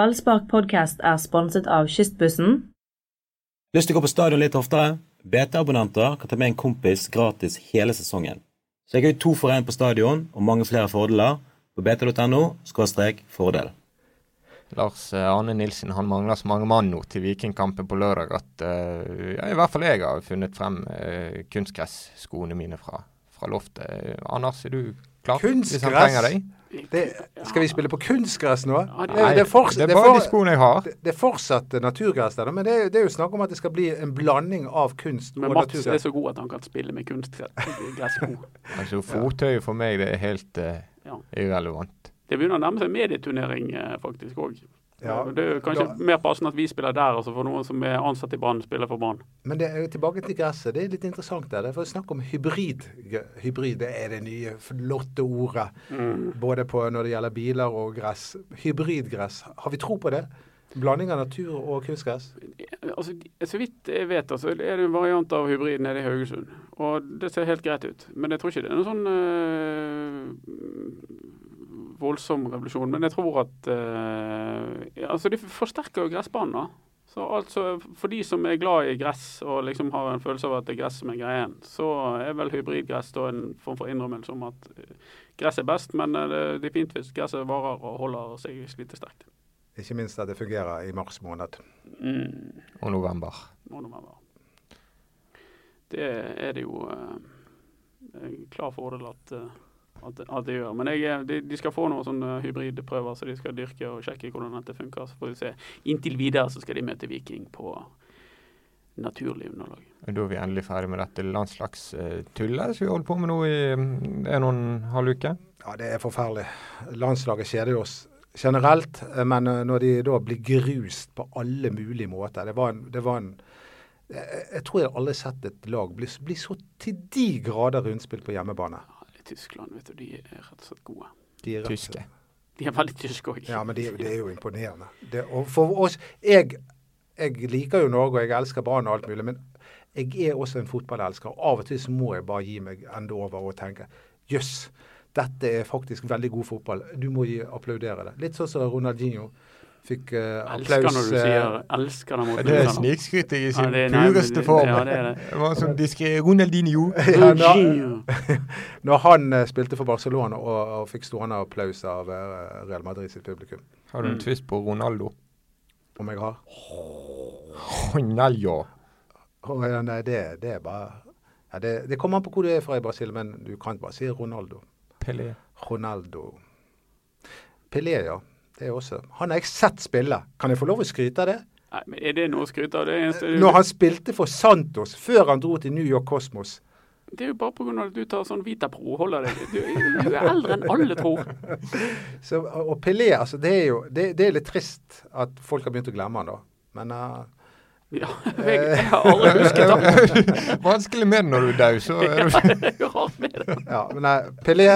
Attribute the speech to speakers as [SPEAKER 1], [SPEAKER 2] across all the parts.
[SPEAKER 1] Ballspark podcast er sponset av Kystbussen.
[SPEAKER 2] Lyst til å gå på stadion litt oftere? BT-abonnenter kan ta med en kompis gratis hele sesongen. Så jeg har jo to for én på stadion, og mange flere fordeler. På bt.no fordel.
[SPEAKER 3] Lars eh, Arne Nilsen han mangler så mange mann nå til Vikingkampen på lørdag at eh, ja, i hvert fall jeg har funnet frem eh, kunstgressskoene mine fra, fra loftet. Eh, Anders, er du klar? Hvis han
[SPEAKER 4] Kunstgress?
[SPEAKER 3] trenger deg?
[SPEAKER 4] Det, skal vi spille på kunstgress nå?
[SPEAKER 5] Ja, det-
[SPEAKER 4] Det, det, er forts-
[SPEAKER 3] det
[SPEAKER 4] det
[SPEAKER 3] er
[SPEAKER 4] er
[SPEAKER 3] bare
[SPEAKER 4] for-
[SPEAKER 3] de skoene jeg har.
[SPEAKER 4] det- det er fortsatt eh, naturgress der, da, men det, er- det er jo snakk om at det skal bli en blanding av kunst
[SPEAKER 5] Men
[SPEAKER 4] og
[SPEAKER 5] Mats er
[SPEAKER 4] naturgress.
[SPEAKER 5] så god at han kan spille med kunstgressko.
[SPEAKER 3] Altså, Fottøyet for meg det er helt eh,
[SPEAKER 5] Ja.
[SPEAKER 3] irrelevant.
[SPEAKER 5] Det begynner å nærme seg medieturnering eh, faktisk òg.
[SPEAKER 4] Ja,
[SPEAKER 5] Det er jo kanskje
[SPEAKER 4] da-
[SPEAKER 5] mer passende at vi spiller der, altså for noen som er ansatt i Brann, spiller for Brann.
[SPEAKER 4] Men det er jo tilbake til gresset. Det er litt interessant der. Det er for snakk om hybrid. Hybrid det er det nye flotte ordet.
[SPEAKER 5] Mm.
[SPEAKER 4] Både på når det gjelder biler og gress. Hybridgress. Har vi tro på det? Blanding av natur og kunstgress?
[SPEAKER 5] Altså, så vidt jeg vet, altså, er det en variant av hybrid nede i Haugesund. Og det ser helt greit ut. Men jeg tror ikke det er noen sånn eh, voldsom revolusjon. Men jeg tror at eh, ja, Altså, de forsterker jo gressbanen, da. Så altså, for de som er glad i gress og liksom har en følelse av at det er gress som er greien, så er vel hybridgress da en form for innrømmelse om at eh, gress er best, men eh, det det er fint hvis gresset varer og holder seg slitesterkt.
[SPEAKER 4] Ikke minst at det fungerer i mars måned.
[SPEAKER 5] Mm.
[SPEAKER 3] Og november.
[SPEAKER 5] må nå være. Det er det jo eh, en klar fordel at, eh, at, at det gjør. Men jeg, er- de, de skal få noen sånne hybridprøver, så de skal dyrke og sjekke hvordan dette funker. Så får vi se. Inntil videre så skal de møte Viking på naturlig underlag.
[SPEAKER 3] Og Da er vi endelig ferdig med dette landslagstullet som vi holder på med nå i mm, en og en halv uke.
[SPEAKER 4] Ja, det er forferdelig. Landslaget kjeder jo oss generelt, eh, men eh, når de da blir grust på alle mulige måter Det var en, det var en jeg, jeg tror jeg aldri har sett et lag bli, bli så til de grader rundspilt på hjemmebane.
[SPEAKER 5] Ja, det er Tyskland, vet du. De er rett og slett gode.
[SPEAKER 4] De er rett-
[SPEAKER 3] Tyske.
[SPEAKER 5] De er veldig tyske òg.
[SPEAKER 4] Ja, men det, det er jo imponerende. Det, og for oss, jeg, jeg liker jo Norge, og jeg elsker Brann og alt mulig, men jeg er også en fotballelsker. og Av og til så må jeg bare gi meg enda over og tenke jøss, dette er faktisk veldig god fotball. Du må gi, applaudere det. Litt sånn som Ronaldinho fikk eh,
[SPEAKER 5] Elsker
[SPEAKER 4] applaus.
[SPEAKER 5] når du
[SPEAKER 4] eh,
[SPEAKER 5] sier 'elsker' den måten
[SPEAKER 3] Det
[SPEAKER 5] du
[SPEAKER 3] er
[SPEAKER 5] sa nå.
[SPEAKER 3] snikskryt i
[SPEAKER 5] Ja,
[SPEAKER 3] sin
[SPEAKER 5] det er- nei, men
[SPEAKER 3] pureste
[SPEAKER 5] det-
[SPEAKER 3] form.
[SPEAKER 5] ja, det er det.
[SPEAKER 3] var sånn diskré Ronaldinho.
[SPEAKER 4] Ja, når,
[SPEAKER 5] Gio.
[SPEAKER 4] når han eh, spilte for Barcelona og, og fikk stående applaus av eh, Real Madrid sitt publikum.
[SPEAKER 3] Har du en tvist på Ronaldo?
[SPEAKER 4] Om jeg har?
[SPEAKER 3] Ronaldo.
[SPEAKER 4] Å, ja, nei, det, det er bare ja, det, det kommer an på hvor du er fra i Brasil, men du kan bare si Ronaldo.
[SPEAKER 3] Pelé.
[SPEAKER 4] Ronaldo. Pelé, ja. Det er også. Han har jeg sett spille. Kan jeg få lov å skryte av det?
[SPEAKER 5] Nei, men Er det noe å skryte av? Det er, eneste-
[SPEAKER 4] Når han spilte for Santos før han dro til New York Cosmos.
[SPEAKER 5] Det er jo bare pga. at du tar sånn Vitapro og holder deg. Du, du er eldre enn alle tror.
[SPEAKER 4] Så, og Pelé, altså, det er jo det, det er litt trist at folk har begynt å glemme han da. Men eh,
[SPEAKER 5] Ja, jeg, jeg har aldri husket det.
[SPEAKER 3] Vanskelig med det når du er død, så er du
[SPEAKER 4] eh,
[SPEAKER 5] Det er jo rart med det.
[SPEAKER 4] ja, men nei, Pelé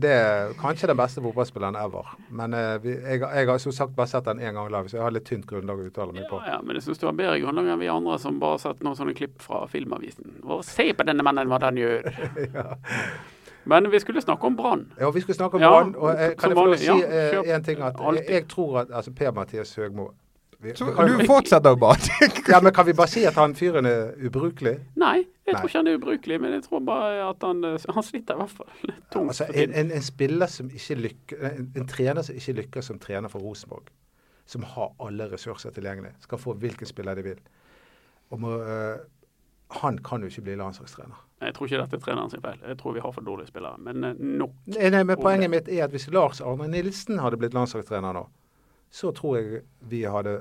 [SPEAKER 4] det er kanskje den beste fotballspilleren ever. Men eh, vi, jeg, jeg har som sagt bare sett han én gang live, så jeg har litt tynt grunnlag å uttale meg
[SPEAKER 5] Ja,
[SPEAKER 4] på.
[SPEAKER 5] ja, men jeg syns du har bedre grunnlag enn vi andre som bare har sett noen sånne klipp fra Filmavisen. Og se på denne mannen, hva han gjør. Men vi skulle snakke om Brann.
[SPEAKER 4] Ja, vi skulle snakke om
[SPEAKER 5] Ja,
[SPEAKER 4] Brann. og eh,
[SPEAKER 5] som
[SPEAKER 4] kan jeg få lov å
[SPEAKER 5] vanlig,
[SPEAKER 4] si
[SPEAKER 5] ja,
[SPEAKER 4] eh,
[SPEAKER 5] kjør.
[SPEAKER 4] en ting? at jeg,
[SPEAKER 5] Alltid.
[SPEAKER 4] jeg tror at altså, Per-Mathias Høgmo vi-
[SPEAKER 3] Så
[SPEAKER 4] vi kan jo-
[SPEAKER 3] du fortsetter bare.
[SPEAKER 4] Ja, men kan vi bare si at han fyren er ubrukelig?
[SPEAKER 5] Nei, jeg
[SPEAKER 4] Nei.
[SPEAKER 5] tror ikke han er ubrukelig, men jeg tror bare at han eh, Han sliter i hvert fall litt tungt.
[SPEAKER 4] Altså,
[SPEAKER 5] for
[SPEAKER 4] en,
[SPEAKER 5] tiden.
[SPEAKER 4] en, en spiller som ikke lykker en, en trener som ikke lykkes som trener for Rosenborg, som har alle ressurser tilgjengelig, skal få hvilken spiller de vil. Og må, eh, han kan jo ikke bli landslagstrener.
[SPEAKER 5] Jeg tror ikke dette er treneren sin feil. Jeg tror vi har for dårlige spillere. Men eh, nok.
[SPEAKER 4] Nei, nei, men
[SPEAKER 5] Om
[SPEAKER 4] Poenget
[SPEAKER 5] det.
[SPEAKER 4] mitt er at hvis Lars Arne Nilsen hadde blitt landslagstrener nå, så tror jeg vi hadde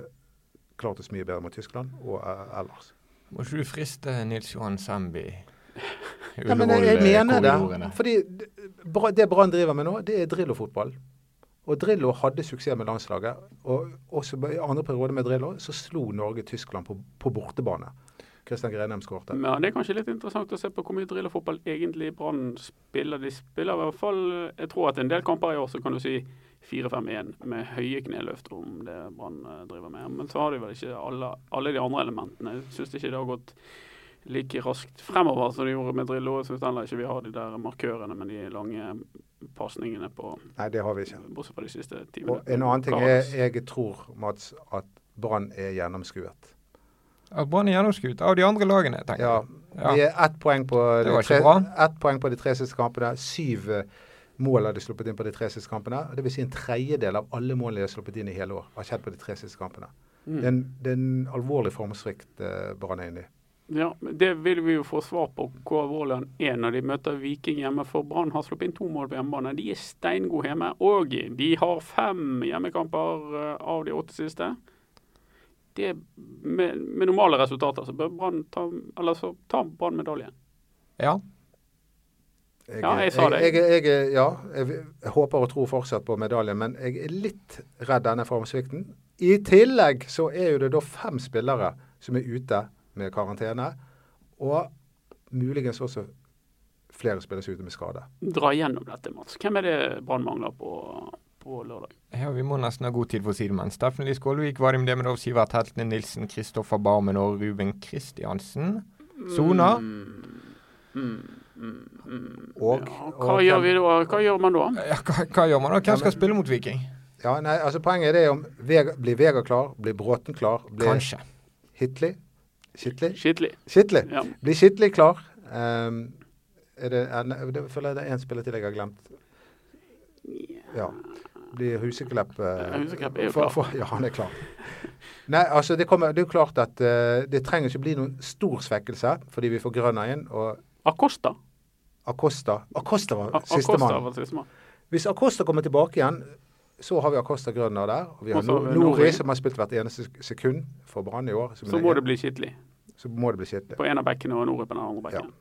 [SPEAKER 4] klart oss mye bedre mot Tyskland og eh, ellers.
[SPEAKER 3] Må ikke du friste Nils Johan Sembi?
[SPEAKER 4] Ja, men jeg, jeg mener det. Fordi d- bra- det Brann driver med nå, det er Drillo-fotball. Og Drillo hadde suksess med landslaget. Og også i andre periode med Drillo så slo Norge Tyskland på, på bortebane. Kristian Grenheim skårte.
[SPEAKER 5] Ja, Det er kanskje litt interessant å se på hvor mye drillefotball egentlig Brann spiller. De spiller i hvert fall Jeg tror at en del kamper i år så kan du si 4-5-1 med høye kneløft om det Brann eh, driver med. Men så har de vel ikke alle, alle de andre elementene. Jeg syns ikke det har gått like raskt fremover som de gjorde med Drillo. Jeg syns heller ikke vi har de der markørene med de lange pasningene på
[SPEAKER 4] Nei, det har vi ikke.
[SPEAKER 5] Bortsett fra de siste ti
[SPEAKER 4] Og
[SPEAKER 5] minuttene.
[SPEAKER 4] en annen ting er,
[SPEAKER 5] Karas.
[SPEAKER 4] jeg tror, Mats, at Brann er gjennomskuet.
[SPEAKER 3] At Brann er gjennomskuet av de andre lagene, tenker
[SPEAKER 4] Ja,
[SPEAKER 3] jeg.
[SPEAKER 4] Vi er ett poeng, på
[SPEAKER 3] Det var
[SPEAKER 4] de
[SPEAKER 3] ikke
[SPEAKER 4] tre-
[SPEAKER 3] bra.
[SPEAKER 4] ett poeng på de tre siste kampene. Syv eh, mål har de sluppet inn på de tre siste kampene. Det vil si en tredjedel av alle målene de har sluppet inn i hele år, har skjedd på de tre siste kampene.
[SPEAKER 5] Mm.
[SPEAKER 4] Det, er en, det er en alvorlig formsvikt eh, Brann er inne i.
[SPEAKER 5] Ja, men Det vil vi jo få svar på hvor alvorlig han er når de møter Viking hjemme. For Brann har sluppet inn to mål på hjemmebane. De er steingode hjemme. Og de har fem hjemmekamper eh, av de åtte siste. Det, med, med normale resultater så bør Brann ta eller så tar Brann medalje.
[SPEAKER 3] Ja.
[SPEAKER 4] Jeg,
[SPEAKER 5] Ja, jeg sa det.
[SPEAKER 4] Jeg, jeg, jeg, ja, jeg, jeg håper og tror fortsatt på medaljen, men jeg er litt redd denne formsvikten. I tillegg så er jo det da fem spillere som er ute med karantene, og muligens også flere spilles ute med skade.
[SPEAKER 5] Dra gjennom dette, Mats. Hvem er det Brann mangler på, på lørdag?
[SPEAKER 3] Ja, Vi må nesten ha god tid for å si det, men Steffen Lie Skålevik, Vadim Demidov, Sivert Heltene Nilsen, Kristoffer Barmen og Ruben Kristiansen. Sona.
[SPEAKER 4] Og,
[SPEAKER 5] Ja, hva,
[SPEAKER 4] og
[SPEAKER 5] gjør
[SPEAKER 4] hvem-
[SPEAKER 5] vi da? hva gjør man da?
[SPEAKER 3] Ja, hva, hva gjør man da? Hvem skal spille mot Viking?
[SPEAKER 4] Ja, nei, altså Poenget er det om Vega, blir Vega klar, blir Bråten klar, blir
[SPEAKER 3] Kanskje.
[SPEAKER 4] Hitli Skittli?
[SPEAKER 5] Skittlig.
[SPEAKER 4] Skittli!
[SPEAKER 5] Ja.
[SPEAKER 4] Blir Skittli klar? Ehm, er det, er, nei, det føler jeg det er én spiller til jeg har glemt. Ja. Blir Huseklepp eh,
[SPEAKER 5] Huseklepp er jo
[SPEAKER 4] for-
[SPEAKER 5] klar.
[SPEAKER 4] for- Ja, han er klar. Nei, altså det, kommer, det er jo klart at eh, det trenger ikke bli noen stor svekkelse fordi vi får Grønner inn og
[SPEAKER 5] Acosta.
[SPEAKER 4] Acosta. Acosta var
[SPEAKER 5] A- Acosta
[SPEAKER 4] sistemann.
[SPEAKER 5] var sistemann.
[SPEAKER 4] Hvis Acosta kommer tilbake igjen, så har vi Acosta Grønner der. Og vi har
[SPEAKER 5] Og så har vi
[SPEAKER 4] Nor-
[SPEAKER 5] Nori.
[SPEAKER 4] Nori, som har spilt hvert eneste sekund for Brann i år. som
[SPEAKER 5] Så
[SPEAKER 4] en
[SPEAKER 5] må
[SPEAKER 4] egen-
[SPEAKER 5] det bli Skittlig
[SPEAKER 4] så må det bli Skittli.
[SPEAKER 5] på en av bekkene og Nore på den andre bekken.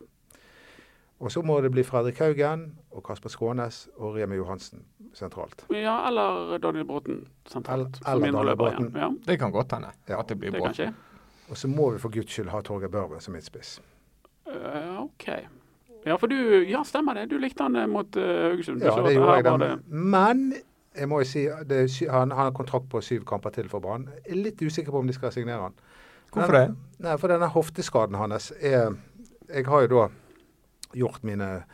[SPEAKER 4] Og så må det bli Fredrik Haugen og Kasper Skånes og Remi Johansen sentralt.
[SPEAKER 5] Ja, eller Daniel Bråten sentralt.
[SPEAKER 4] Eller-
[SPEAKER 5] som
[SPEAKER 4] eller Daniel
[SPEAKER 5] indreløper
[SPEAKER 4] Bråten.
[SPEAKER 5] igjen. Ja,
[SPEAKER 3] Det kan godt hende
[SPEAKER 4] Ja.
[SPEAKER 3] at det blir
[SPEAKER 5] det
[SPEAKER 3] bra.
[SPEAKER 5] kan skje.
[SPEAKER 4] Og så må vi for guds skyld ha Torgeir Børven som midtspiss.
[SPEAKER 5] Eh, OK. Ja, for du Ja, stemmer det. Du likte han eh, mot eh, Haugesund. Du
[SPEAKER 4] Ja,
[SPEAKER 5] så at
[SPEAKER 4] det gjorde
[SPEAKER 5] her
[SPEAKER 4] jeg.
[SPEAKER 5] var
[SPEAKER 4] da. Men jeg må jo si det er sy han, han har kontrakt på syv kamper til for Brann. Jeg er Litt usikker på om de skal signere han.
[SPEAKER 3] Hvorfor
[SPEAKER 4] Men-
[SPEAKER 3] det?
[SPEAKER 4] Nei, For denne hofteskaden hans er Jeg har jo da gjort mine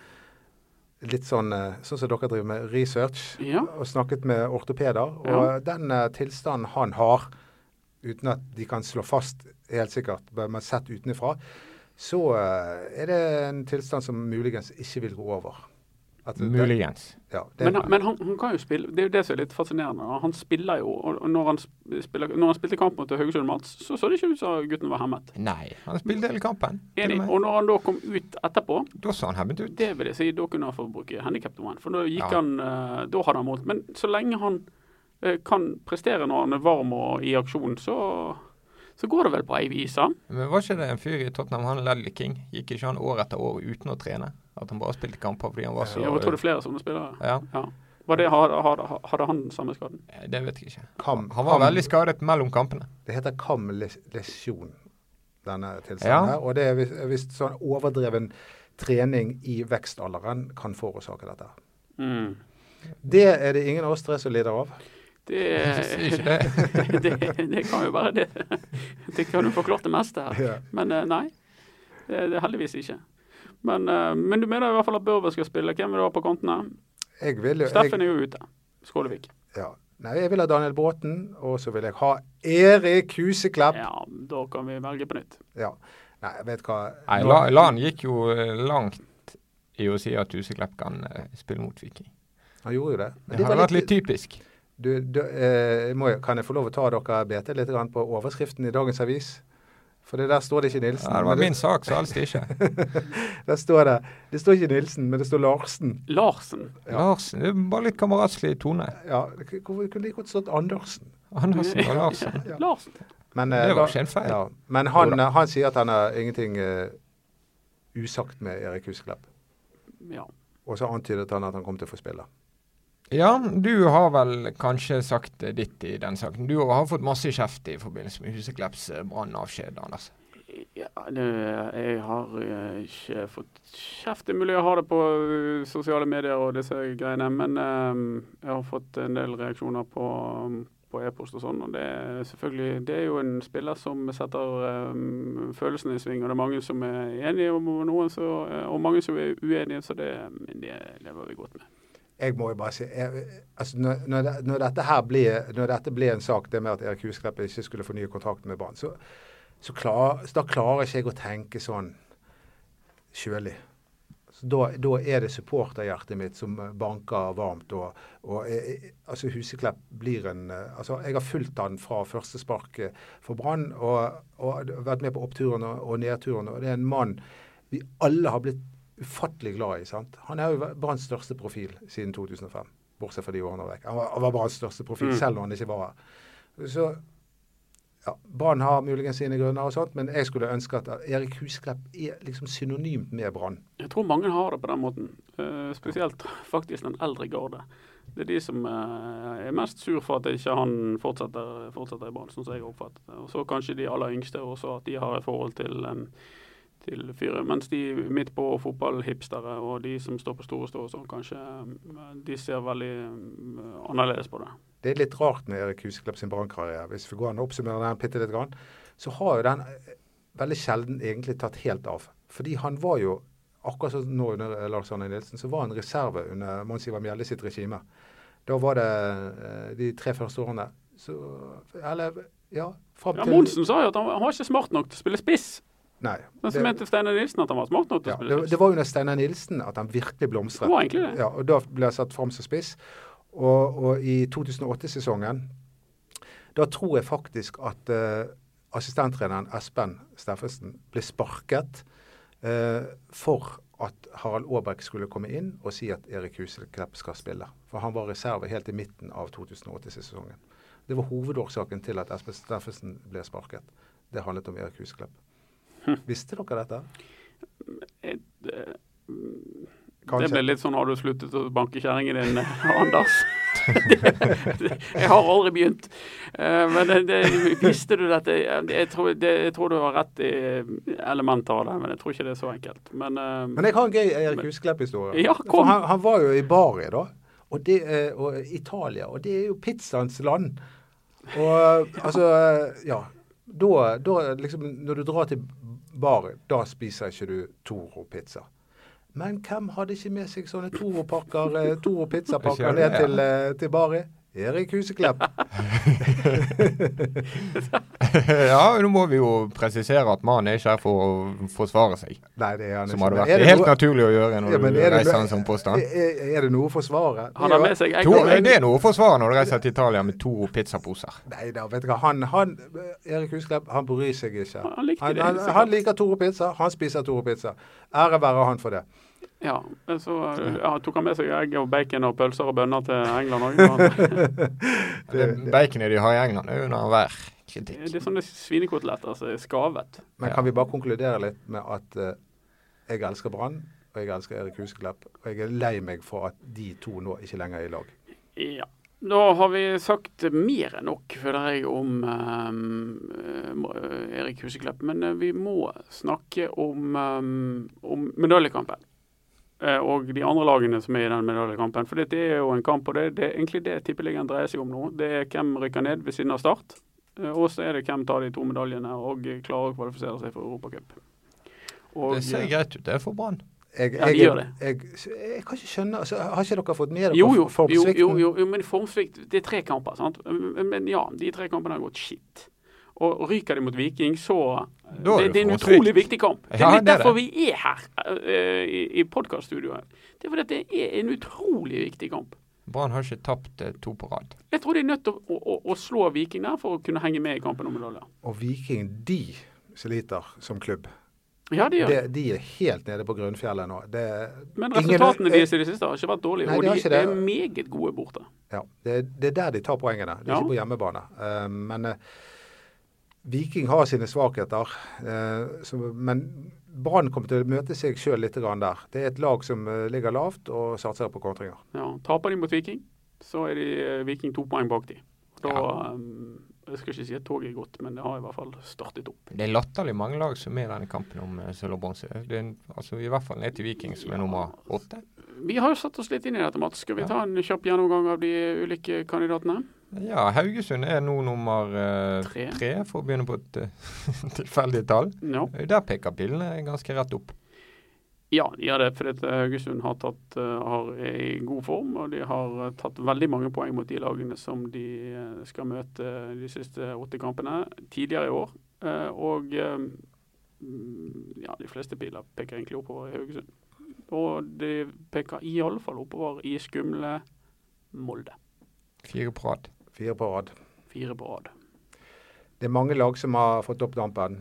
[SPEAKER 4] litt sånn eh, sånn som dere driver med research.
[SPEAKER 5] Ja.
[SPEAKER 4] og snakket med ortopeder. Og
[SPEAKER 5] Ja.
[SPEAKER 4] den eh, tilstanden han har, uten at de kan slå fast helt sikkert, bare man sett utenfra, så eh, er det en tilstand som muligens ikke vil gå over. At det-
[SPEAKER 3] Muligens.
[SPEAKER 4] Ja, det,
[SPEAKER 5] Men, han- men han, han kan jo spille Det er jo det som er litt fascinerende. da. Han spiller jo, og og når han, sp- spiller, når han spilte kamp mot Haugesund Mats, så så det ikke ut som gutten var hemmet.
[SPEAKER 3] Nei, han spilte hele kampen. til
[SPEAKER 5] Enig.
[SPEAKER 3] og med.
[SPEAKER 5] Og når han da kom ut etterpå,
[SPEAKER 3] Da så han hemmet ut.
[SPEAKER 5] det vil jeg si, da kunne han få bruke handikapdommeren. For da
[SPEAKER 3] Ja.
[SPEAKER 5] gikk han eh, Da hadde han målt. Men så lenge han eh, kan prestere når han er varm og i aksjon, så, så går det vel på ei vis, han.
[SPEAKER 3] Men var ikke det en fyr i Tottenham, han Ledley King, gikk ikke han år etter år uten å trene? At han bare spilte kamper fordi han var så
[SPEAKER 5] Ja, jeg tror det er flere sånne spillere.
[SPEAKER 3] Ja,
[SPEAKER 5] Ja. Var det, hadde, hadde- hadde han den samme skaden?
[SPEAKER 3] det vet jeg ikke.
[SPEAKER 4] kam,
[SPEAKER 3] Han var
[SPEAKER 4] kam-
[SPEAKER 3] veldig skadet mellom kampene.
[SPEAKER 4] det heter kamlesjon, denne
[SPEAKER 3] Ja.
[SPEAKER 4] tilstanden her. Og det er vis- er visst sånn overdreven trening i vekstalderen kan forårsake dette. Det er det ingen av oss tre som lider av.
[SPEAKER 5] Det,
[SPEAKER 3] Sier ikke det.
[SPEAKER 5] det, det kan jo være det. Det kan jo forklart det meste her.
[SPEAKER 4] Ja.
[SPEAKER 5] Men eh, nei, det, det er heldigvis ikke. Men, eh, men du mener i hvert fall at Børve skal spille. Hvem vil du ha på kantene?
[SPEAKER 4] Jeg vil jo jeg-
[SPEAKER 5] Steffen er jo ute. Skålevik.
[SPEAKER 4] Ja. Nei, jeg vil ha Daniel Bråten, og så vil jeg ha Erik Huseklepp. Ja.
[SPEAKER 5] Ja, da kan vi velge på nytt.
[SPEAKER 4] Nei, jeg vet hva
[SPEAKER 3] Nei,
[SPEAKER 4] Nå-
[SPEAKER 3] La- Lan gikk jo eh, langt i å si at Huseklepp kan eh, spille mot Viking.
[SPEAKER 4] Han gjorde jo det. Men
[SPEAKER 3] Det hadde vært litt typisk.
[SPEAKER 4] du, du, eh, må, jeg- Kan jeg få lov å ta dere BT litt grann på overskriften i dagens avis? For det der står det ikke Nilsen.
[SPEAKER 3] Ja, det
[SPEAKER 4] men
[SPEAKER 3] var min sak, så helst ikke.
[SPEAKER 4] der står det, det står ikke Nilsen, men det står Larsen.
[SPEAKER 5] Larsen.
[SPEAKER 3] Larsen, det er bare litt kameratslig tone.
[SPEAKER 4] Ja, det k- Hvorfor kunne det like godt stått Andersen?
[SPEAKER 3] Andersen og Larsen.
[SPEAKER 4] Ja.
[SPEAKER 5] Larsen.
[SPEAKER 4] Men, eh,
[SPEAKER 3] Det var
[SPEAKER 4] da-
[SPEAKER 3] ikke en feil.
[SPEAKER 4] Ja, men han, eh, han sier at han har ingenting eh, usagt med Erik Huseklepp.
[SPEAKER 5] Ja.
[SPEAKER 4] Og så antydet han at han kom til å få spille.
[SPEAKER 3] Ja, du har vel kanskje sagt eh, ditt i den saken. Du har fått masse kjeft i forbindelse med Huseklepps eh, brannavskjed, Anders.
[SPEAKER 5] Ja, det, jeg har eh, ikke fått kjeft. Det er mulig jeg har det på eh, ehm, sosiale medier og disse greiene, men eh, jeg har fått en del reaksjoner på på e-post og sånn. og Det er selvfølgelig, det er jo en spiller som setter um, følelsene i sving, og det er mange som er enige om noen, så, eh, og mange som er uenige, så det, men det lever vi godt med.
[SPEAKER 4] Jeg må jo bare si jeg, altså når, når, det, når, dette her ble, når dette ble en sak, det med at Erik Husklepp ikke skulle fornye kontrakten med Brann, så, så, klar, så da klarer ikke jeg å tenke sånn kjølig. Da, da, er det supporterhjertet mitt som banker varmt. og, og jeg, altså Huseklepp blir en altså Jeg har fulgt han fra første spark eh, for Brann og, og, vært med på oppturen og, og nedturen. og Det er en mann vi alle har blitt ufattelig glad i. sant? Han er jo Branns største profil siden 2005, bortsett fra de årene vekk. Han var, var Branns største profil selv når han ikke var her. Så ja, Brann har muligens sine grunner, og sånt, men jeg skulle ønske at Erik Husklepp er liksom synonymt med Brann.
[SPEAKER 5] Jeg tror mange har det på den måten, uh, spesielt faktisk den eldre garde. Det er de som uh, er mest sur for at ikke han fortsetter, fortsetter i Brann, sånn som jeg oppfatter det. Og så kanskje de aller yngste også, at de har et forhold til, um, til fyret. Mens de midt på fotballhipstere og de som står på store stå og sånn, kanskje um, de ser veldig um, annerledes på det
[SPEAKER 4] det er litt rart med Erik Huseklepp sin brannkarriere. Hvis vi går an å oppsummere den bitte litt, grann, så har jo den eh, veldig sjelden egentlig tatt helt av. Fordi han var jo, akkurat som nå under Lars Arne Nilsen, så var han reserve under Mons Ivar Mjelde sitt regime. Da var det eh, de tre første årene så Eller, ja
[SPEAKER 5] fram til Ja, Monsen sa jo at han var ikke smart nok til å spille spiss.
[SPEAKER 4] Nei.
[SPEAKER 5] Men så mente Steinar Nilsen at han var smart nok til
[SPEAKER 4] ja,
[SPEAKER 5] å spille spiss.
[SPEAKER 4] Det, det var under Steinar Nilsen at han virkelig blomstret.
[SPEAKER 5] Det var egentlig det.
[SPEAKER 4] Ja, og da ble han satt fram som spiss. Og, og, i 2008-sesongen, da tror jeg faktisk at uh, assistenttreneren Espen Steffensen ble sparket uh, for at Harald Aabæk skulle komme inn og si at Erik Huseklepp skal spille. For han var reserve helt i midten av 2008-sesongen. Det var hovedårsaken til at Espen Steffensen ble sparket. Det handlet om Erik Huseklepp.
[SPEAKER 5] Hm.
[SPEAKER 4] Visste dere dette?
[SPEAKER 5] Et, uh... Kanskje. Eh, Det ble litt sånn har du sluttet å banke kjerringen din, eh, Anders? det, det, jeg har aldri begynt. Uh, men det, visste du dette? Jeg tror, jeg tror, du har rett i eh, elementer av det, men jeg tror ikke det er så enkelt. Men, uh,
[SPEAKER 4] men jeg har en gøy Erik Husklepp-historie.
[SPEAKER 5] Ja, kom.
[SPEAKER 4] Han, han, var jo i Bari, da. Og, det, eh, og Italia. Og det er jo pizzaens land. Og ja. altså Ja. Da, da liksom Når du drar til Bari, da spiser ikke du Toro-pizza. Men hvem hadde ikke med seg sånne Toro-pakker, eh, Toro-pizzapakker ned til, eh, til Bari? Erik Huseklepp.
[SPEAKER 3] ja, nå må vi jo presisere at mannen er ikke her for å forsvare seg.
[SPEAKER 4] Nei, det er han ikke.
[SPEAKER 3] Som hadde vært det helt noe... naturlig å gjøre når ja, du reiser en sånn påstand.
[SPEAKER 4] Er, er, det noe å forsvare?
[SPEAKER 5] Han har med seg
[SPEAKER 3] egg og egg. Det er noe å forsvare når du reiser til Italia med to pizzaposer.
[SPEAKER 4] Nei da, vet du hva. Han, han Erik Husklepp, han bryr seg ikke.
[SPEAKER 5] Han, likte
[SPEAKER 4] det. Han, han, han liker Toro Pizza. Han spiser Toro Pizza. Ære være han for det.
[SPEAKER 5] Ja, så ja, tok han med seg egg og bacon og pølser og bønner til England òg.
[SPEAKER 3] Baconet de har i England, er under hver kritikk.
[SPEAKER 5] Det er sånne svinekoteletter som er skavet.
[SPEAKER 4] Men kan vi bare konkludere litt med at uh, jeg elsker Brann, og jeg elsker Erik Husklepp, og jeg er lei meg for at de to nå ikke lenger er i lag?
[SPEAKER 5] Ja. Da har vi sagt mer enn nok, føler jeg, om um, Erik Huseklepp. Men uh, vi må snakke om, um, om medaljekampen Eh, og de andre lagene som er i den medaljekampen. For dette er jo en kamp, og det, det er egentlig det Tippeligaen dreier seg om nå. Det er hvem rykker ned ved siden av Start, eh, og så er det hvem tar de to medaljene og klarer å kvalifisere seg for Europacup. eh,
[SPEAKER 3] Det ser greit ut, det er for Brann.
[SPEAKER 4] Jeg,
[SPEAKER 5] ja, de gjør det.
[SPEAKER 4] Jeg, jeg, jeg, kan ikke skjønne altså, Har ikke dere fått med dere
[SPEAKER 5] jo, jo, formsvikten? Jo, jo, jo, men formsvikt Det er tre kamper, sant. Men ja, de tre kampene har gått skitt. Og ryker de mot Viking, så det, det, er en utrolig viktig kamp. Det er litt derfor vi er her uh, i, i podkaststudioet. Det er fordi det er en utrolig viktig kamp.
[SPEAKER 3] Brann har ikke tapt uh, to på rad.
[SPEAKER 5] Jeg tror de er nødt til å, å, å, slå Viking der for å kunne henge med i kampen om medaljer.
[SPEAKER 4] Og Viking, de sliter som klubb.
[SPEAKER 5] Ja, de,
[SPEAKER 4] de, de er helt nede på grunnfjellet nå. Det,
[SPEAKER 5] Men resultatene deres i det siste har ikke vært dårlige, Eh, nei, og de, de, er meget gode borte.
[SPEAKER 4] Ja, det, det, er der de tar poengene. Det er ja. ikke på hjemmebane. Uh, men Viking har sine svakheter, eh, som, men Brann kommer til å møte seg sjøl litt der. Det er et lag som eh, ligger lavt og satser på kontringer.
[SPEAKER 5] Ja, Taper de mot Viking, så er de eh, Viking to poeng bak de. Da, ja. Jeg skal ikke si at toget er gått, men det har i hvert fall startet opp.
[SPEAKER 3] Det er latterlig mange lag som er i denne kampen om eh, sølv og bronse. Altså, I hvert fall ned til Viking, som er nummer åtte.
[SPEAKER 5] Vi har jo satt oss litt inn i dette, Mats. Skal vi ta en kjapp gjennomgang av de ulike kandidatene?
[SPEAKER 3] Ja, Haugesund er nå nummer eh,
[SPEAKER 5] Tre.
[SPEAKER 3] tre, for å begynne på et eh, tilfeldig tall.
[SPEAKER 5] Ja,
[SPEAKER 3] Der peker pillene ganske rett opp.
[SPEAKER 5] ja de gjør det fordi at eh, Haugesund har tatt, eh, har, er i god form. Og de har eh, tatt veldig mange poeng mot de lagene som de eh, skal møte de siste åtte kampene tidligere i år. Eh, Og eh, mm, ja, de fleste piler peker egentlig oppover i Haugesund. Og de peker iallfall oppover i skumle Molde.
[SPEAKER 3] Fire på rad.
[SPEAKER 4] Fire på rad.
[SPEAKER 5] Fire på rad.
[SPEAKER 4] Det er mange lag som har fått opp dampen.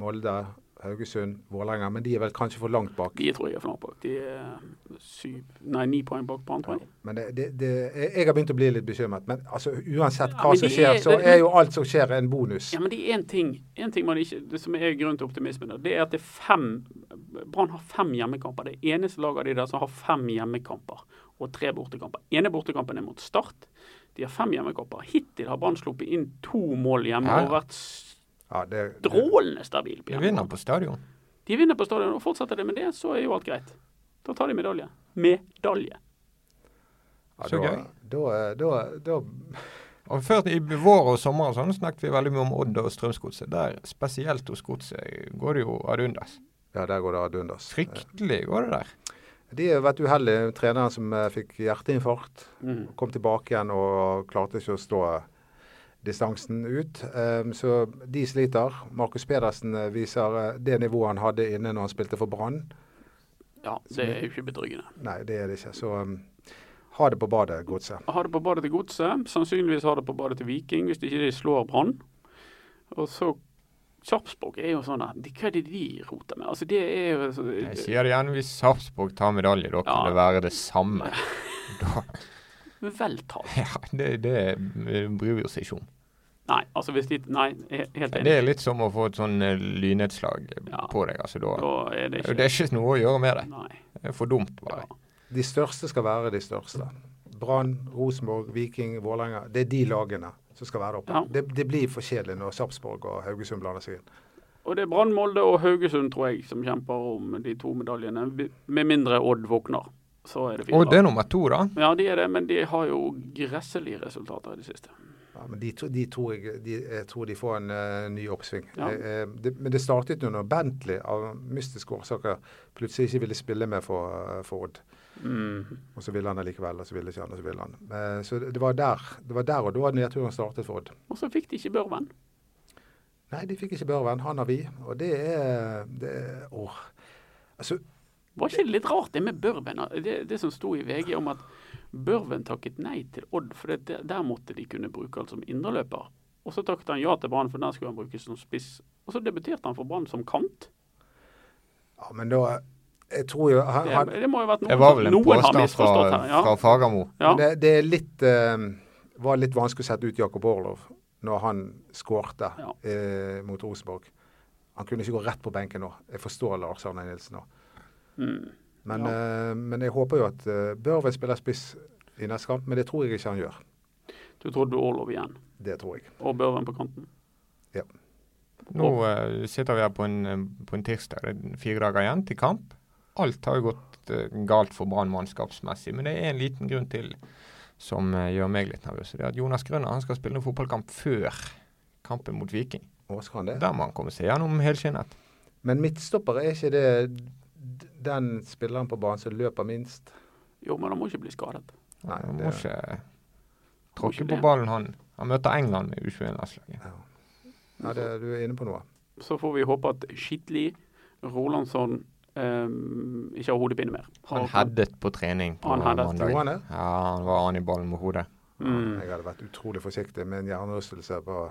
[SPEAKER 4] Molde, Haugesund, Vålerenga. Men de er vel kanskje for langt bak.
[SPEAKER 5] De tror jeg er for langt bak. De er syv, nei, ni poeng bak Brann, tror jeg.
[SPEAKER 4] Men det, det, det, jeg jeg har begynt å bli litt bekymret. Men altså, uansett
[SPEAKER 5] Ja,
[SPEAKER 4] hva
[SPEAKER 5] men
[SPEAKER 4] som
[SPEAKER 5] det
[SPEAKER 4] skjer,
[SPEAKER 5] er-
[SPEAKER 4] så
[SPEAKER 5] det-
[SPEAKER 4] er jo alt som skjer, en bonus.
[SPEAKER 5] Ja, men det er én ting, en ting man ikke, det som er grunn til optimisme, nå, det er at det er fem Brann har fem hjemmekamper. Det er eneste laget av de der som har fem hjemmekamper og tre bortekamper. Ene bortekampen er mot Start. De har fem hjemmekamper. Hittil har Brann sluppet inn to mål hjemme
[SPEAKER 3] Ja, ja.
[SPEAKER 5] og vært
[SPEAKER 4] Ja, det, det,
[SPEAKER 5] strålende stabil. på
[SPEAKER 3] Vi
[SPEAKER 5] hjemmebane.
[SPEAKER 3] vinner på stadion.
[SPEAKER 5] De vinner på stadion, og fortsetter det med det, så er jo alt greit. Da tar de medalje. Medalje.
[SPEAKER 4] ja,
[SPEAKER 3] Så
[SPEAKER 4] da,
[SPEAKER 3] gøy.
[SPEAKER 4] da, da, da
[SPEAKER 3] Og før I vår og sommer og sånn snakket vi veldig mye om Odd og Strømsgodset. Der, spesielt hos Godset, går det jo ad undas.
[SPEAKER 4] Ja, der går det ad undas.
[SPEAKER 3] Fryktelig går det der.
[SPEAKER 4] De har vært uheldige. Treneren som eh, fikk hjerteinfarkt, kom tilbake igjen og klarte ikke å stå distansen ut. Ehm, så de sliter. Markus Pedersen eh, viser eh, det nivået han hadde inne når han spilte for Brann.
[SPEAKER 5] Ja, det er jo ikke betryggende.
[SPEAKER 4] Nei, det er det ikke. Så ehm, ha det på badet, godset.
[SPEAKER 5] Har det på badet til Godset. Sannsynligvis har det på badet til Viking, hvis ikke de slår Brann. Og så Sarpsborg er jo sånn der de- Hva er det de roter med? Altså, det er jo
[SPEAKER 3] Jeg
[SPEAKER 5] så,
[SPEAKER 3] sier det gjerne, hvis Sarpsborg tar medalje, da kan
[SPEAKER 5] Ja.
[SPEAKER 3] det være det samme. Da,
[SPEAKER 5] veltalt.
[SPEAKER 3] ja, det, det eh, bryr vi oss ikke om.
[SPEAKER 5] Nei, altså hvis de Nei, jeg er helt
[SPEAKER 3] Det
[SPEAKER 5] enig.
[SPEAKER 3] er litt som å få et sånn eh, lynnedslag eh,
[SPEAKER 5] Ja.
[SPEAKER 3] på deg. altså da,
[SPEAKER 5] Da er det
[SPEAKER 3] Det
[SPEAKER 5] ikke
[SPEAKER 3] er ikke noe å gjøre med det.
[SPEAKER 5] Nei.
[SPEAKER 3] Det er for dumt, bare.
[SPEAKER 4] De største skal være de største. Brann, Rosenborg, Viking, Vålerenga. Det er de lagene som skal være der oppe.
[SPEAKER 5] Ja.
[SPEAKER 4] Det, det blir for kjedelig når Sarpsborg og Haugesund blander seg inn.
[SPEAKER 5] Og det er Brann, Molde og Haugesund, tror jeg, som kjemper om de to medaljene. Med mindre Odd våkner. Så er det fint.
[SPEAKER 3] Og det er nummer to, da.
[SPEAKER 5] Ja, de er det, men de har jo gresselige resultater i det siste.
[SPEAKER 4] Ja, men de, to, de tror jeg, de, jeg tror de får en eh, ny oppsving.
[SPEAKER 5] Ja.
[SPEAKER 4] Eh, eh, det, men det startet jo når Bentley av mystiske årsaker plutselig ikke ville spille med for, eh, for Odd.
[SPEAKER 5] Mm.
[SPEAKER 4] Og så ville han allikevel, og så ville ikke han, og så ville han. Eh, så det var der det var der og da nedturen startet for Odd.
[SPEAKER 5] Og så fikk de ikke Børven.
[SPEAKER 4] Nei, de fikk ikke Børven. Han har vi. Og det er det, er- Åh. Altså,
[SPEAKER 5] Var ikke det litt rart det med Børven? Det, det som sto i VG om at Børven takket nei til Odd, for det, der- der måtte de kunne bruke han som indreløper. Og så takket han ja til Brann, for der skulle han brukes som spiss. Og så debuterte han for Brann som kant.
[SPEAKER 4] ja, men da Jeg tror jo han,
[SPEAKER 5] Det,
[SPEAKER 4] han,
[SPEAKER 5] det må jo ha vært
[SPEAKER 3] Det
[SPEAKER 5] noen,
[SPEAKER 3] var vel en
[SPEAKER 5] som- noen har
[SPEAKER 3] påstand
[SPEAKER 5] misforstått
[SPEAKER 3] fra,
[SPEAKER 5] her.
[SPEAKER 3] fra
[SPEAKER 5] Ja.
[SPEAKER 3] Fagermo.
[SPEAKER 5] Ja.
[SPEAKER 4] Det, det er litt, eh, var litt vanskelig å sette ut Jakob Orlov når han skårte
[SPEAKER 5] Ja.
[SPEAKER 4] eh, mot Rosenborg. Han kunne ikke gå rett på benken nå. Jeg forstår Lars Arne Nilsen nå.
[SPEAKER 5] Mm.
[SPEAKER 4] Men, eh, men jeg håper jo at eh, Børven spiller spiss i neste kamp, men det tror jeg ikke han gjør.
[SPEAKER 5] Du trodde Orlov igjen,
[SPEAKER 4] Det tror jeg.
[SPEAKER 5] og Børven på kanten.
[SPEAKER 3] Nå eh, sitter vi her på en, eh, på en tirsdag, det er fire dager igjen til kamp. Alt har jo gått eh, galt for Brann mannskapsmessig, men det er en liten grunn til som eh, gjør meg litt nervøs. og Det er at Jonas Grønner han skal spille en fotballkamp før kampen mot Viking.
[SPEAKER 4] Å, skal han det?
[SPEAKER 3] Der må han komme seg gjennom helskinnet.
[SPEAKER 4] Men midtstopper er ikke det d- den spilleren på banen som løper minst?
[SPEAKER 5] Jo, men han må ikke bli skadet.
[SPEAKER 4] Nei,
[SPEAKER 3] Han må
[SPEAKER 4] det-
[SPEAKER 3] ikke
[SPEAKER 5] Må ikke
[SPEAKER 3] tråkke
[SPEAKER 5] det.
[SPEAKER 3] på ballen, han. Han møter England med U21-landslaget.
[SPEAKER 4] Ja, det, du er inne på noe.
[SPEAKER 5] Så får vi håpe at Skitli, Rolandsson, eh, ikke har hodepine mer.
[SPEAKER 3] Han headet på trening på
[SPEAKER 5] Han headet.
[SPEAKER 3] mandag.
[SPEAKER 4] Tror han det?
[SPEAKER 3] Ja, han var an i ballen med hodet.
[SPEAKER 5] Mm.
[SPEAKER 4] Jeg hadde vært utrolig forsiktig med en hjernerystelse på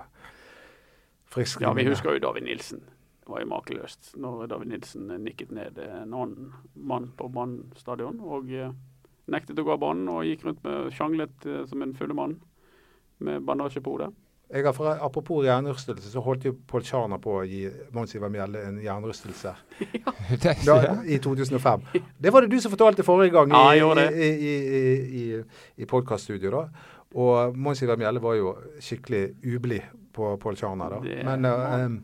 [SPEAKER 4] frisk
[SPEAKER 5] Ja, vi
[SPEAKER 4] linje.
[SPEAKER 5] husker jo David Nilsen. Det var jo makeløst når David Nilsen eh, nikket ned en annen mann på Brann stadion og eh, nektet å gå av banen og gikk rundt med sjanglet eh, som en fulle mann med bandasje på hodet.
[SPEAKER 4] Jeg har fra, apropos hjernerystelse, så holdt jo Pål Tjarner på å gi Mons Ivar Mjelde en hjernerystelse
[SPEAKER 3] Det er
[SPEAKER 4] da,
[SPEAKER 3] ikke det.
[SPEAKER 4] i 2005. Det var det du som fortalte forrige gang i,
[SPEAKER 5] Ja, jeg gjorde
[SPEAKER 4] i,
[SPEAKER 5] det.
[SPEAKER 4] i, i, i, i podkaststudio. da. Og Mons Ivar Mjelde var jo skikkelig ublid på Pål Tjarner. da.
[SPEAKER 5] Det-
[SPEAKER 4] Men, eh, em,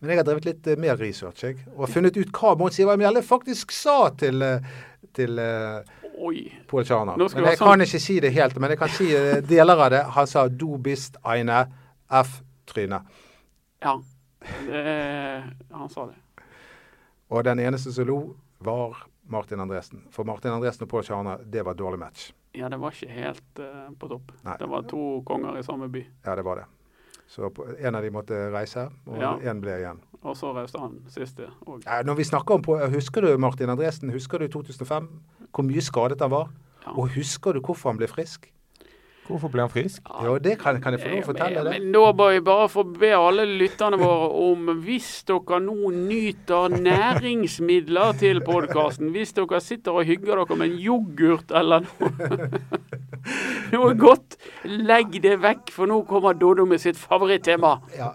[SPEAKER 4] men jeg har drevet litt eh, mer research jeg, og funnet ut hva Mons Ivar Mjelde faktisk sa til, eh, til eh,
[SPEAKER 5] Å Oi.
[SPEAKER 4] Pål Tjarner.
[SPEAKER 5] Nå
[SPEAKER 4] Men
[SPEAKER 5] skal vi ha
[SPEAKER 4] jeg
[SPEAKER 5] sånn-
[SPEAKER 4] kan ikke si det helt, men jeg kan si eh, deler av det. Han sa 'du bist eine F-tryne'.
[SPEAKER 5] Ja. Det, han sa det.
[SPEAKER 4] Og den eneste som lo, var Martin Andresen. For Martin Andresen og Pål Tjarner, det var et dårlig match.
[SPEAKER 5] Ja, det var ikke helt eh, på topp.
[SPEAKER 4] Nei.
[SPEAKER 5] Det var to konger i samme by,
[SPEAKER 4] Ja, det var det. Så på- en av de måtte reise, og
[SPEAKER 5] Ja.
[SPEAKER 4] én ble igjen.
[SPEAKER 5] og så reiste han siste òg.
[SPEAKER 4] Ja, når vi snakker om på, Husker du Martin Andresen? Husker du 2005? Hvor mye skadet han var?
[SPEAKER 5] Ja.
[SPEAKER 4] Og husker du hvorfor han ble frisk?
[SPEAKER 3] Hvorfor ble han frisk?
[SPEAKER 5] Ja.
[SPEAKER 4] Ja, det kan, kan jeg få lov å fortelle
[SPEAKER 5] men,
[SPEAKER 4] deg.
[SPEAKER 5] men da bør jeg bare få be alle lytterne våre om hvis dere nå nyter næringsmidler til podkasten, hvis dere sitter og hygger dere med en yoghurt eller noe, noe godt, legg det vekk, for nå kommer Dodo med sitt favorittema.
[SPEAKER 4] Ja.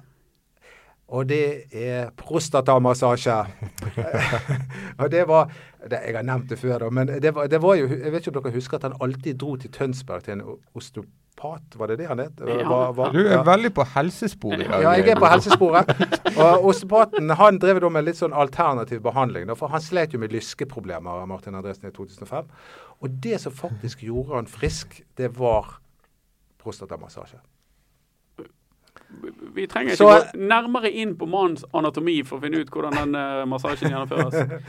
[SPEAKER 4] Og det er prostatamassasje. og det var det, Jeg har nevnt det før, da. Men det var, det var jo Jeg vet ikke om dere husker at han alltid dro til Tønsberg til en o- osteopat, var det det han het?
[SPEAKER 5] Ja.
[SPEAKER 4] Var- var-
[SPEAKER 3] Du er
[SPEAKER 4] ja.
[SPEAKER 3] veldig på helsesporet i dag.
[SPEAKER 4] Ja, jeg er på helsesporet. Og osteopaten han drev da med litt sånn alternativ behandling. da, For han slet jo med lyskeproblemer, Martin Andresen, i 2005. Og det som faktisk gjorde han frisk, det var prostatamassasje.
[SPEAKER 5] Vi trenger ikke
[SPEAKER 4] Så-
[SPEAKER 5] gå nærmere inn på mannens anatomi for å finne ut hvordan den eh, massasjen gjennomføres.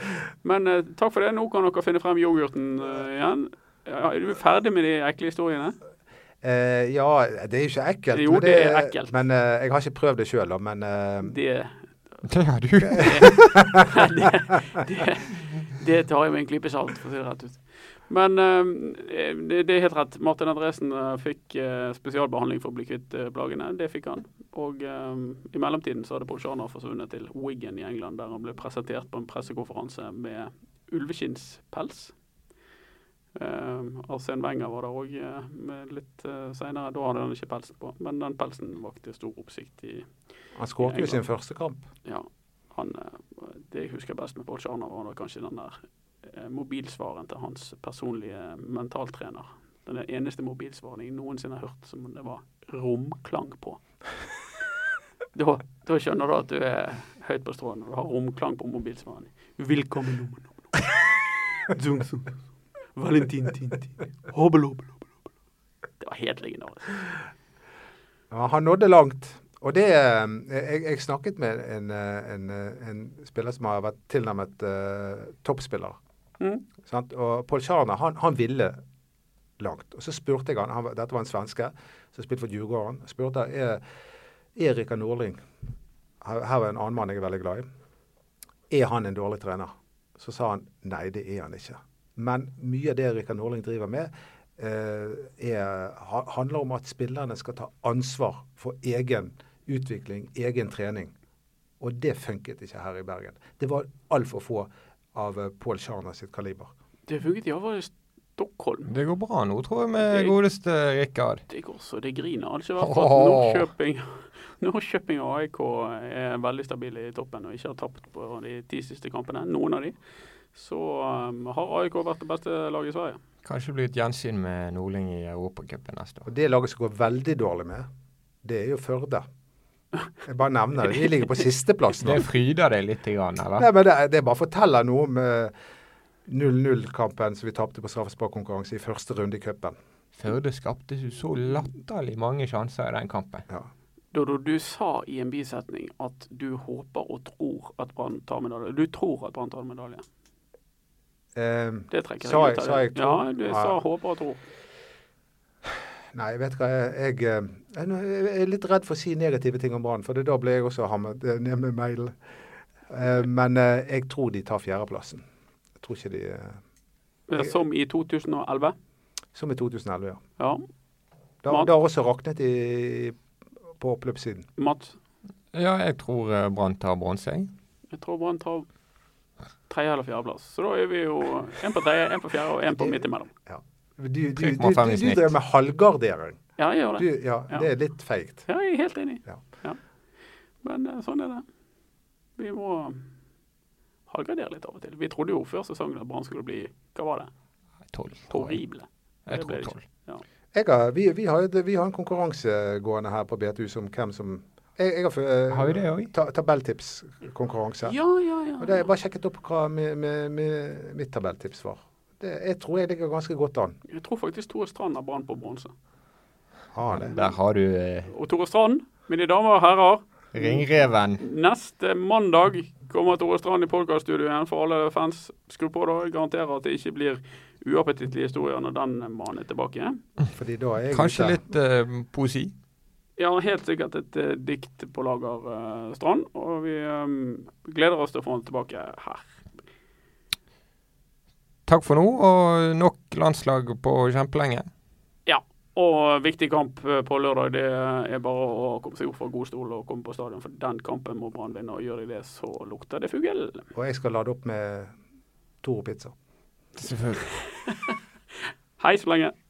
[SPEAKER 5] Men eh, takk for det. Nå kan dere finne frem yoghurten eh, igjen. Ja, er du ferdig med de ekle historiene?
[SPEAKER 4] Eh, ja, det er jo ikke ekkelt.
[SPEAKER 5] Jo,
[SPEAKER 4] men
[SPEAKER 5] det er ekkelt.
[SPEAKER 4] Men eh, jeg har ikke prøvd det sjøl, da. Men eh,
[SPEAKER 5] Det,
[SPEAKER 3] Det har du.
[SPEAKER 5] det, det, det tar jeg med en klype salt, for å si det rett ut. Men eh, det, det er helt rett. Martin Andresen eh, fikk eh, spesialbehandling for å bli kvitt eh, plagene. Det fikk han. Og eh, i mellomtiden så hadde Paul Sharner forsvunnet til Wigan i England, der han ble presentert på en pressekonferanse med ulveskinnspels. Um, Arsen Wenger var der òg litt uh, seinere. Da hadde han ikke pelsen på, men den pelsen vakte stor oppsikt i
[SPEAKER 4] han skåret jo sin første kamp.
[SPEAKER 5] ja, han, eh, det jeg husker best med Pål Tjarner, var da kanskje den der eh, mobilsvaren til hans personlige mentaltrener. Den er eneste mobilsvaren jeg noensinne har hørt som det var romklang på. Da, da skjønner du at du er høyt på strå når du har romklang på mobilsvaren. Velkommen, nom, nom, nom. Zum, zum. Valentin, tin, tin. Hobbel, hobbel, hobbel, hobbel. Det var helt legendarisk.
[SPEAKER 4] Ja, han nådde langt. Og det eh, jeg, jeg snakket med en, eh, en, eh, en spiller som har vært tilnærmet eh, toppspiller.
[SPEAKER 5] Mm.
[SPEAKER 4] Sant? Og Paul Tjarner, han, han ville langt. Og så spurte jeg han, han var- dette var en svenske som spilte for Djurgården, spurte jeg, er, er Rikard Norling, her, her er en annen mann jeg er veldig glad i, er han en dårlig trener? Så sa han, nei, det er han ikke. Men mye av det Rikard Norling driver med, eh, er, ha- handler om at spillerne skal ta ansvar for egen utvikling, egen trening. Og det funket ikke her i Bergen. Det var altfor få av eh, Paul Tjarner sitt kaliber.
[SPEAKER 5] Det funket iallfall i Stockholm.
[SPEAKER 3] Det går bra nå, tror jeg, med godeste Rikard.
[SPEAKER 5] Jeg også, det griner. Hadde ikke vært for at
[SPEAKER 3] Åh.
[SPEAKER 5] Norrköping Norrköping og AIK eh, er veldig stabile i toppen og ikke har tapt på de ti siste kampene, noen av de, så um, har AIK vært det beste laget i Sverige.
[SPEAKER 3] Kanskje det blir et gjensyn med Nordling i Europacupen neste år.
[SPEAKER 4] Og det laget som går veldig dårlig med, det er jo Førde. Jeg bare nevner det. De ligger på sisteplass nå.
[SPEAKER 3] Det fryder deg litt, grann, eller?
[SPEAKER 4] Nei, men det, er- det er bare forteller noe om eh, 0-0-kampen som vi tapte på straffesparkkonkurranse i første runde i cupen.
[SPEAKER 3] Førde skapte jo så latterlig mange sjanser i den kampen.
[SPEAKER 4] Ja.
[SPEAKER 5] Dodo, du sa i en bisetning at du håper og tror at Brann tar medalje. Du tror at Brann tar medalje.
[SPEAKER 4] Eh,
[SPEAKER 5] Det trekker
[SPEAKER 4] Sa jeg-
[SPEAKER 5] ut av
[SPEAKER 4] sa
[SPEAKER 5] det.
[SPEAKER 4] jeg tror?
[SPEAKER 5] Ja, du
[SPEAKER 4] Ja.
[SPEAKER 5] sa håper og tror.
[SPEAKER 4] nei, vet du hva. Jeg, jeg, eh, jeg, jeg er litt redd for å si negative ting om Brann, for det, da ble jeg også hammet eh, ned med mailen. Eh, men eh, jeg tror de tar fjerdeplassen. Jeg tror ikke de eh,
[SPEAKER 5] Som i 2011.
[SPEAKER 4] Som i 2011, ja.
[SPEAKER 5] Ja,
[SPEAKER 4] Da,
[SPEAKER 5] Mat.
[SPEAKER 4] da har også raknet i, på oppløpssiden.
[SPEAKER 5] Mats.
[SPEAKER 3] Ja, jeg tror eh, Brann tar bronse. jeg.
[SPEAKER 5] Jeg tror Brann tar tredje eller fjerdeplass. Så da er vi jo én på tredje, én på fjerde og én på midt imellom.
[SPEAKER 4] Du, du, du, du,
[SPEAKER 3] 3,5 i snitt.
[SPEAKER 4] drev med halvgardering.
[SPEAKER 5] Ja, jeg gjør det.
[SPEAKER 4] Du, ja,
[SPEAKER 5] Ja.
[SPEAKER 4] det er litt feigt.
[SPEAKER 5] Ja, jeg er helt enig.
[SPEAKER 4] Ja.
[SPEAKER 5] Ja. Men eh, sånn er det. Vi må halvgradere litt av og til. Vi trodde jo før sesongen at Brann skulle bli hva var det?
[SPEAKER 3] Tolv. tror jeg.
[SPEAKER 5] Horrible.
[SPEAKER 3] Jeg
[SPEAKER 5] Det ble
[SPEAKER 3] tror
[SPEAKER 5] det ikke.
[SPEAKER 3] tolv.
[SPEAKER 4] Jeg har, vi, vi, har, et- vi har en konkurranse gående her på BTU som hvem som Jeg, jeg har, fø- eh,
[SPEAKER 3] Har vi det òg?
[SPEAKER 4] ta, tabelltipskonkurranse.
[SPEAKER 5] Ja, ja, ja.
[SPEAKER 4] Og det, jeg bare sjekket opp hva mi, mi, mi, mitt tabelltips var. Det Det, jeg tror jeg ligger ganske godt an.
[SPEAKER 5] Jeg tror faktisk Tore Strand har Brann på bronse.
[SPEAKER 4] Har det.
[SPEAKER 3] Der har du eh,
[SPEAKER 5] Og Tore Strand, mine damer og herrer,
[SPEAKER 3] ringreven.
[SPEAKER 5] neste mandag kommer Tore Strand i podkaststudioet igjen for alle fans. Skru på da. Jeg garanterer at det ikke blir uappetittlige historier når den mannen er tilbake igjen.
[SPEAKER 4] Fordi da er jeg
[SPEAKER 3] Kanskje
[SPEAKER 4] ute.
[SPEAKER 3] litt eh, poesi.
[SPEAKER 5] Ja, helt sikkert et eh, dikt på lager, eh, Strand. Og vi eh, gleder oss til å få han tilbake her.
[SPEAKER 3] Takk for nå, og nok landslag på kjempelenge.
[SPEAKER 5] Ja. Og viktig kamp eh, på lørdag, det er bare å komme seg opp fra god stol og komme på stadion. For den kampen må Brann vinne, og gjør de det, så lukter det fugl.
[SPEAKER 4] Og jeg skal lade opp med Toro Pizza.
[SPEAKER 3] Selvfølgelig.
[SPEAKER 5] Hei så lenge.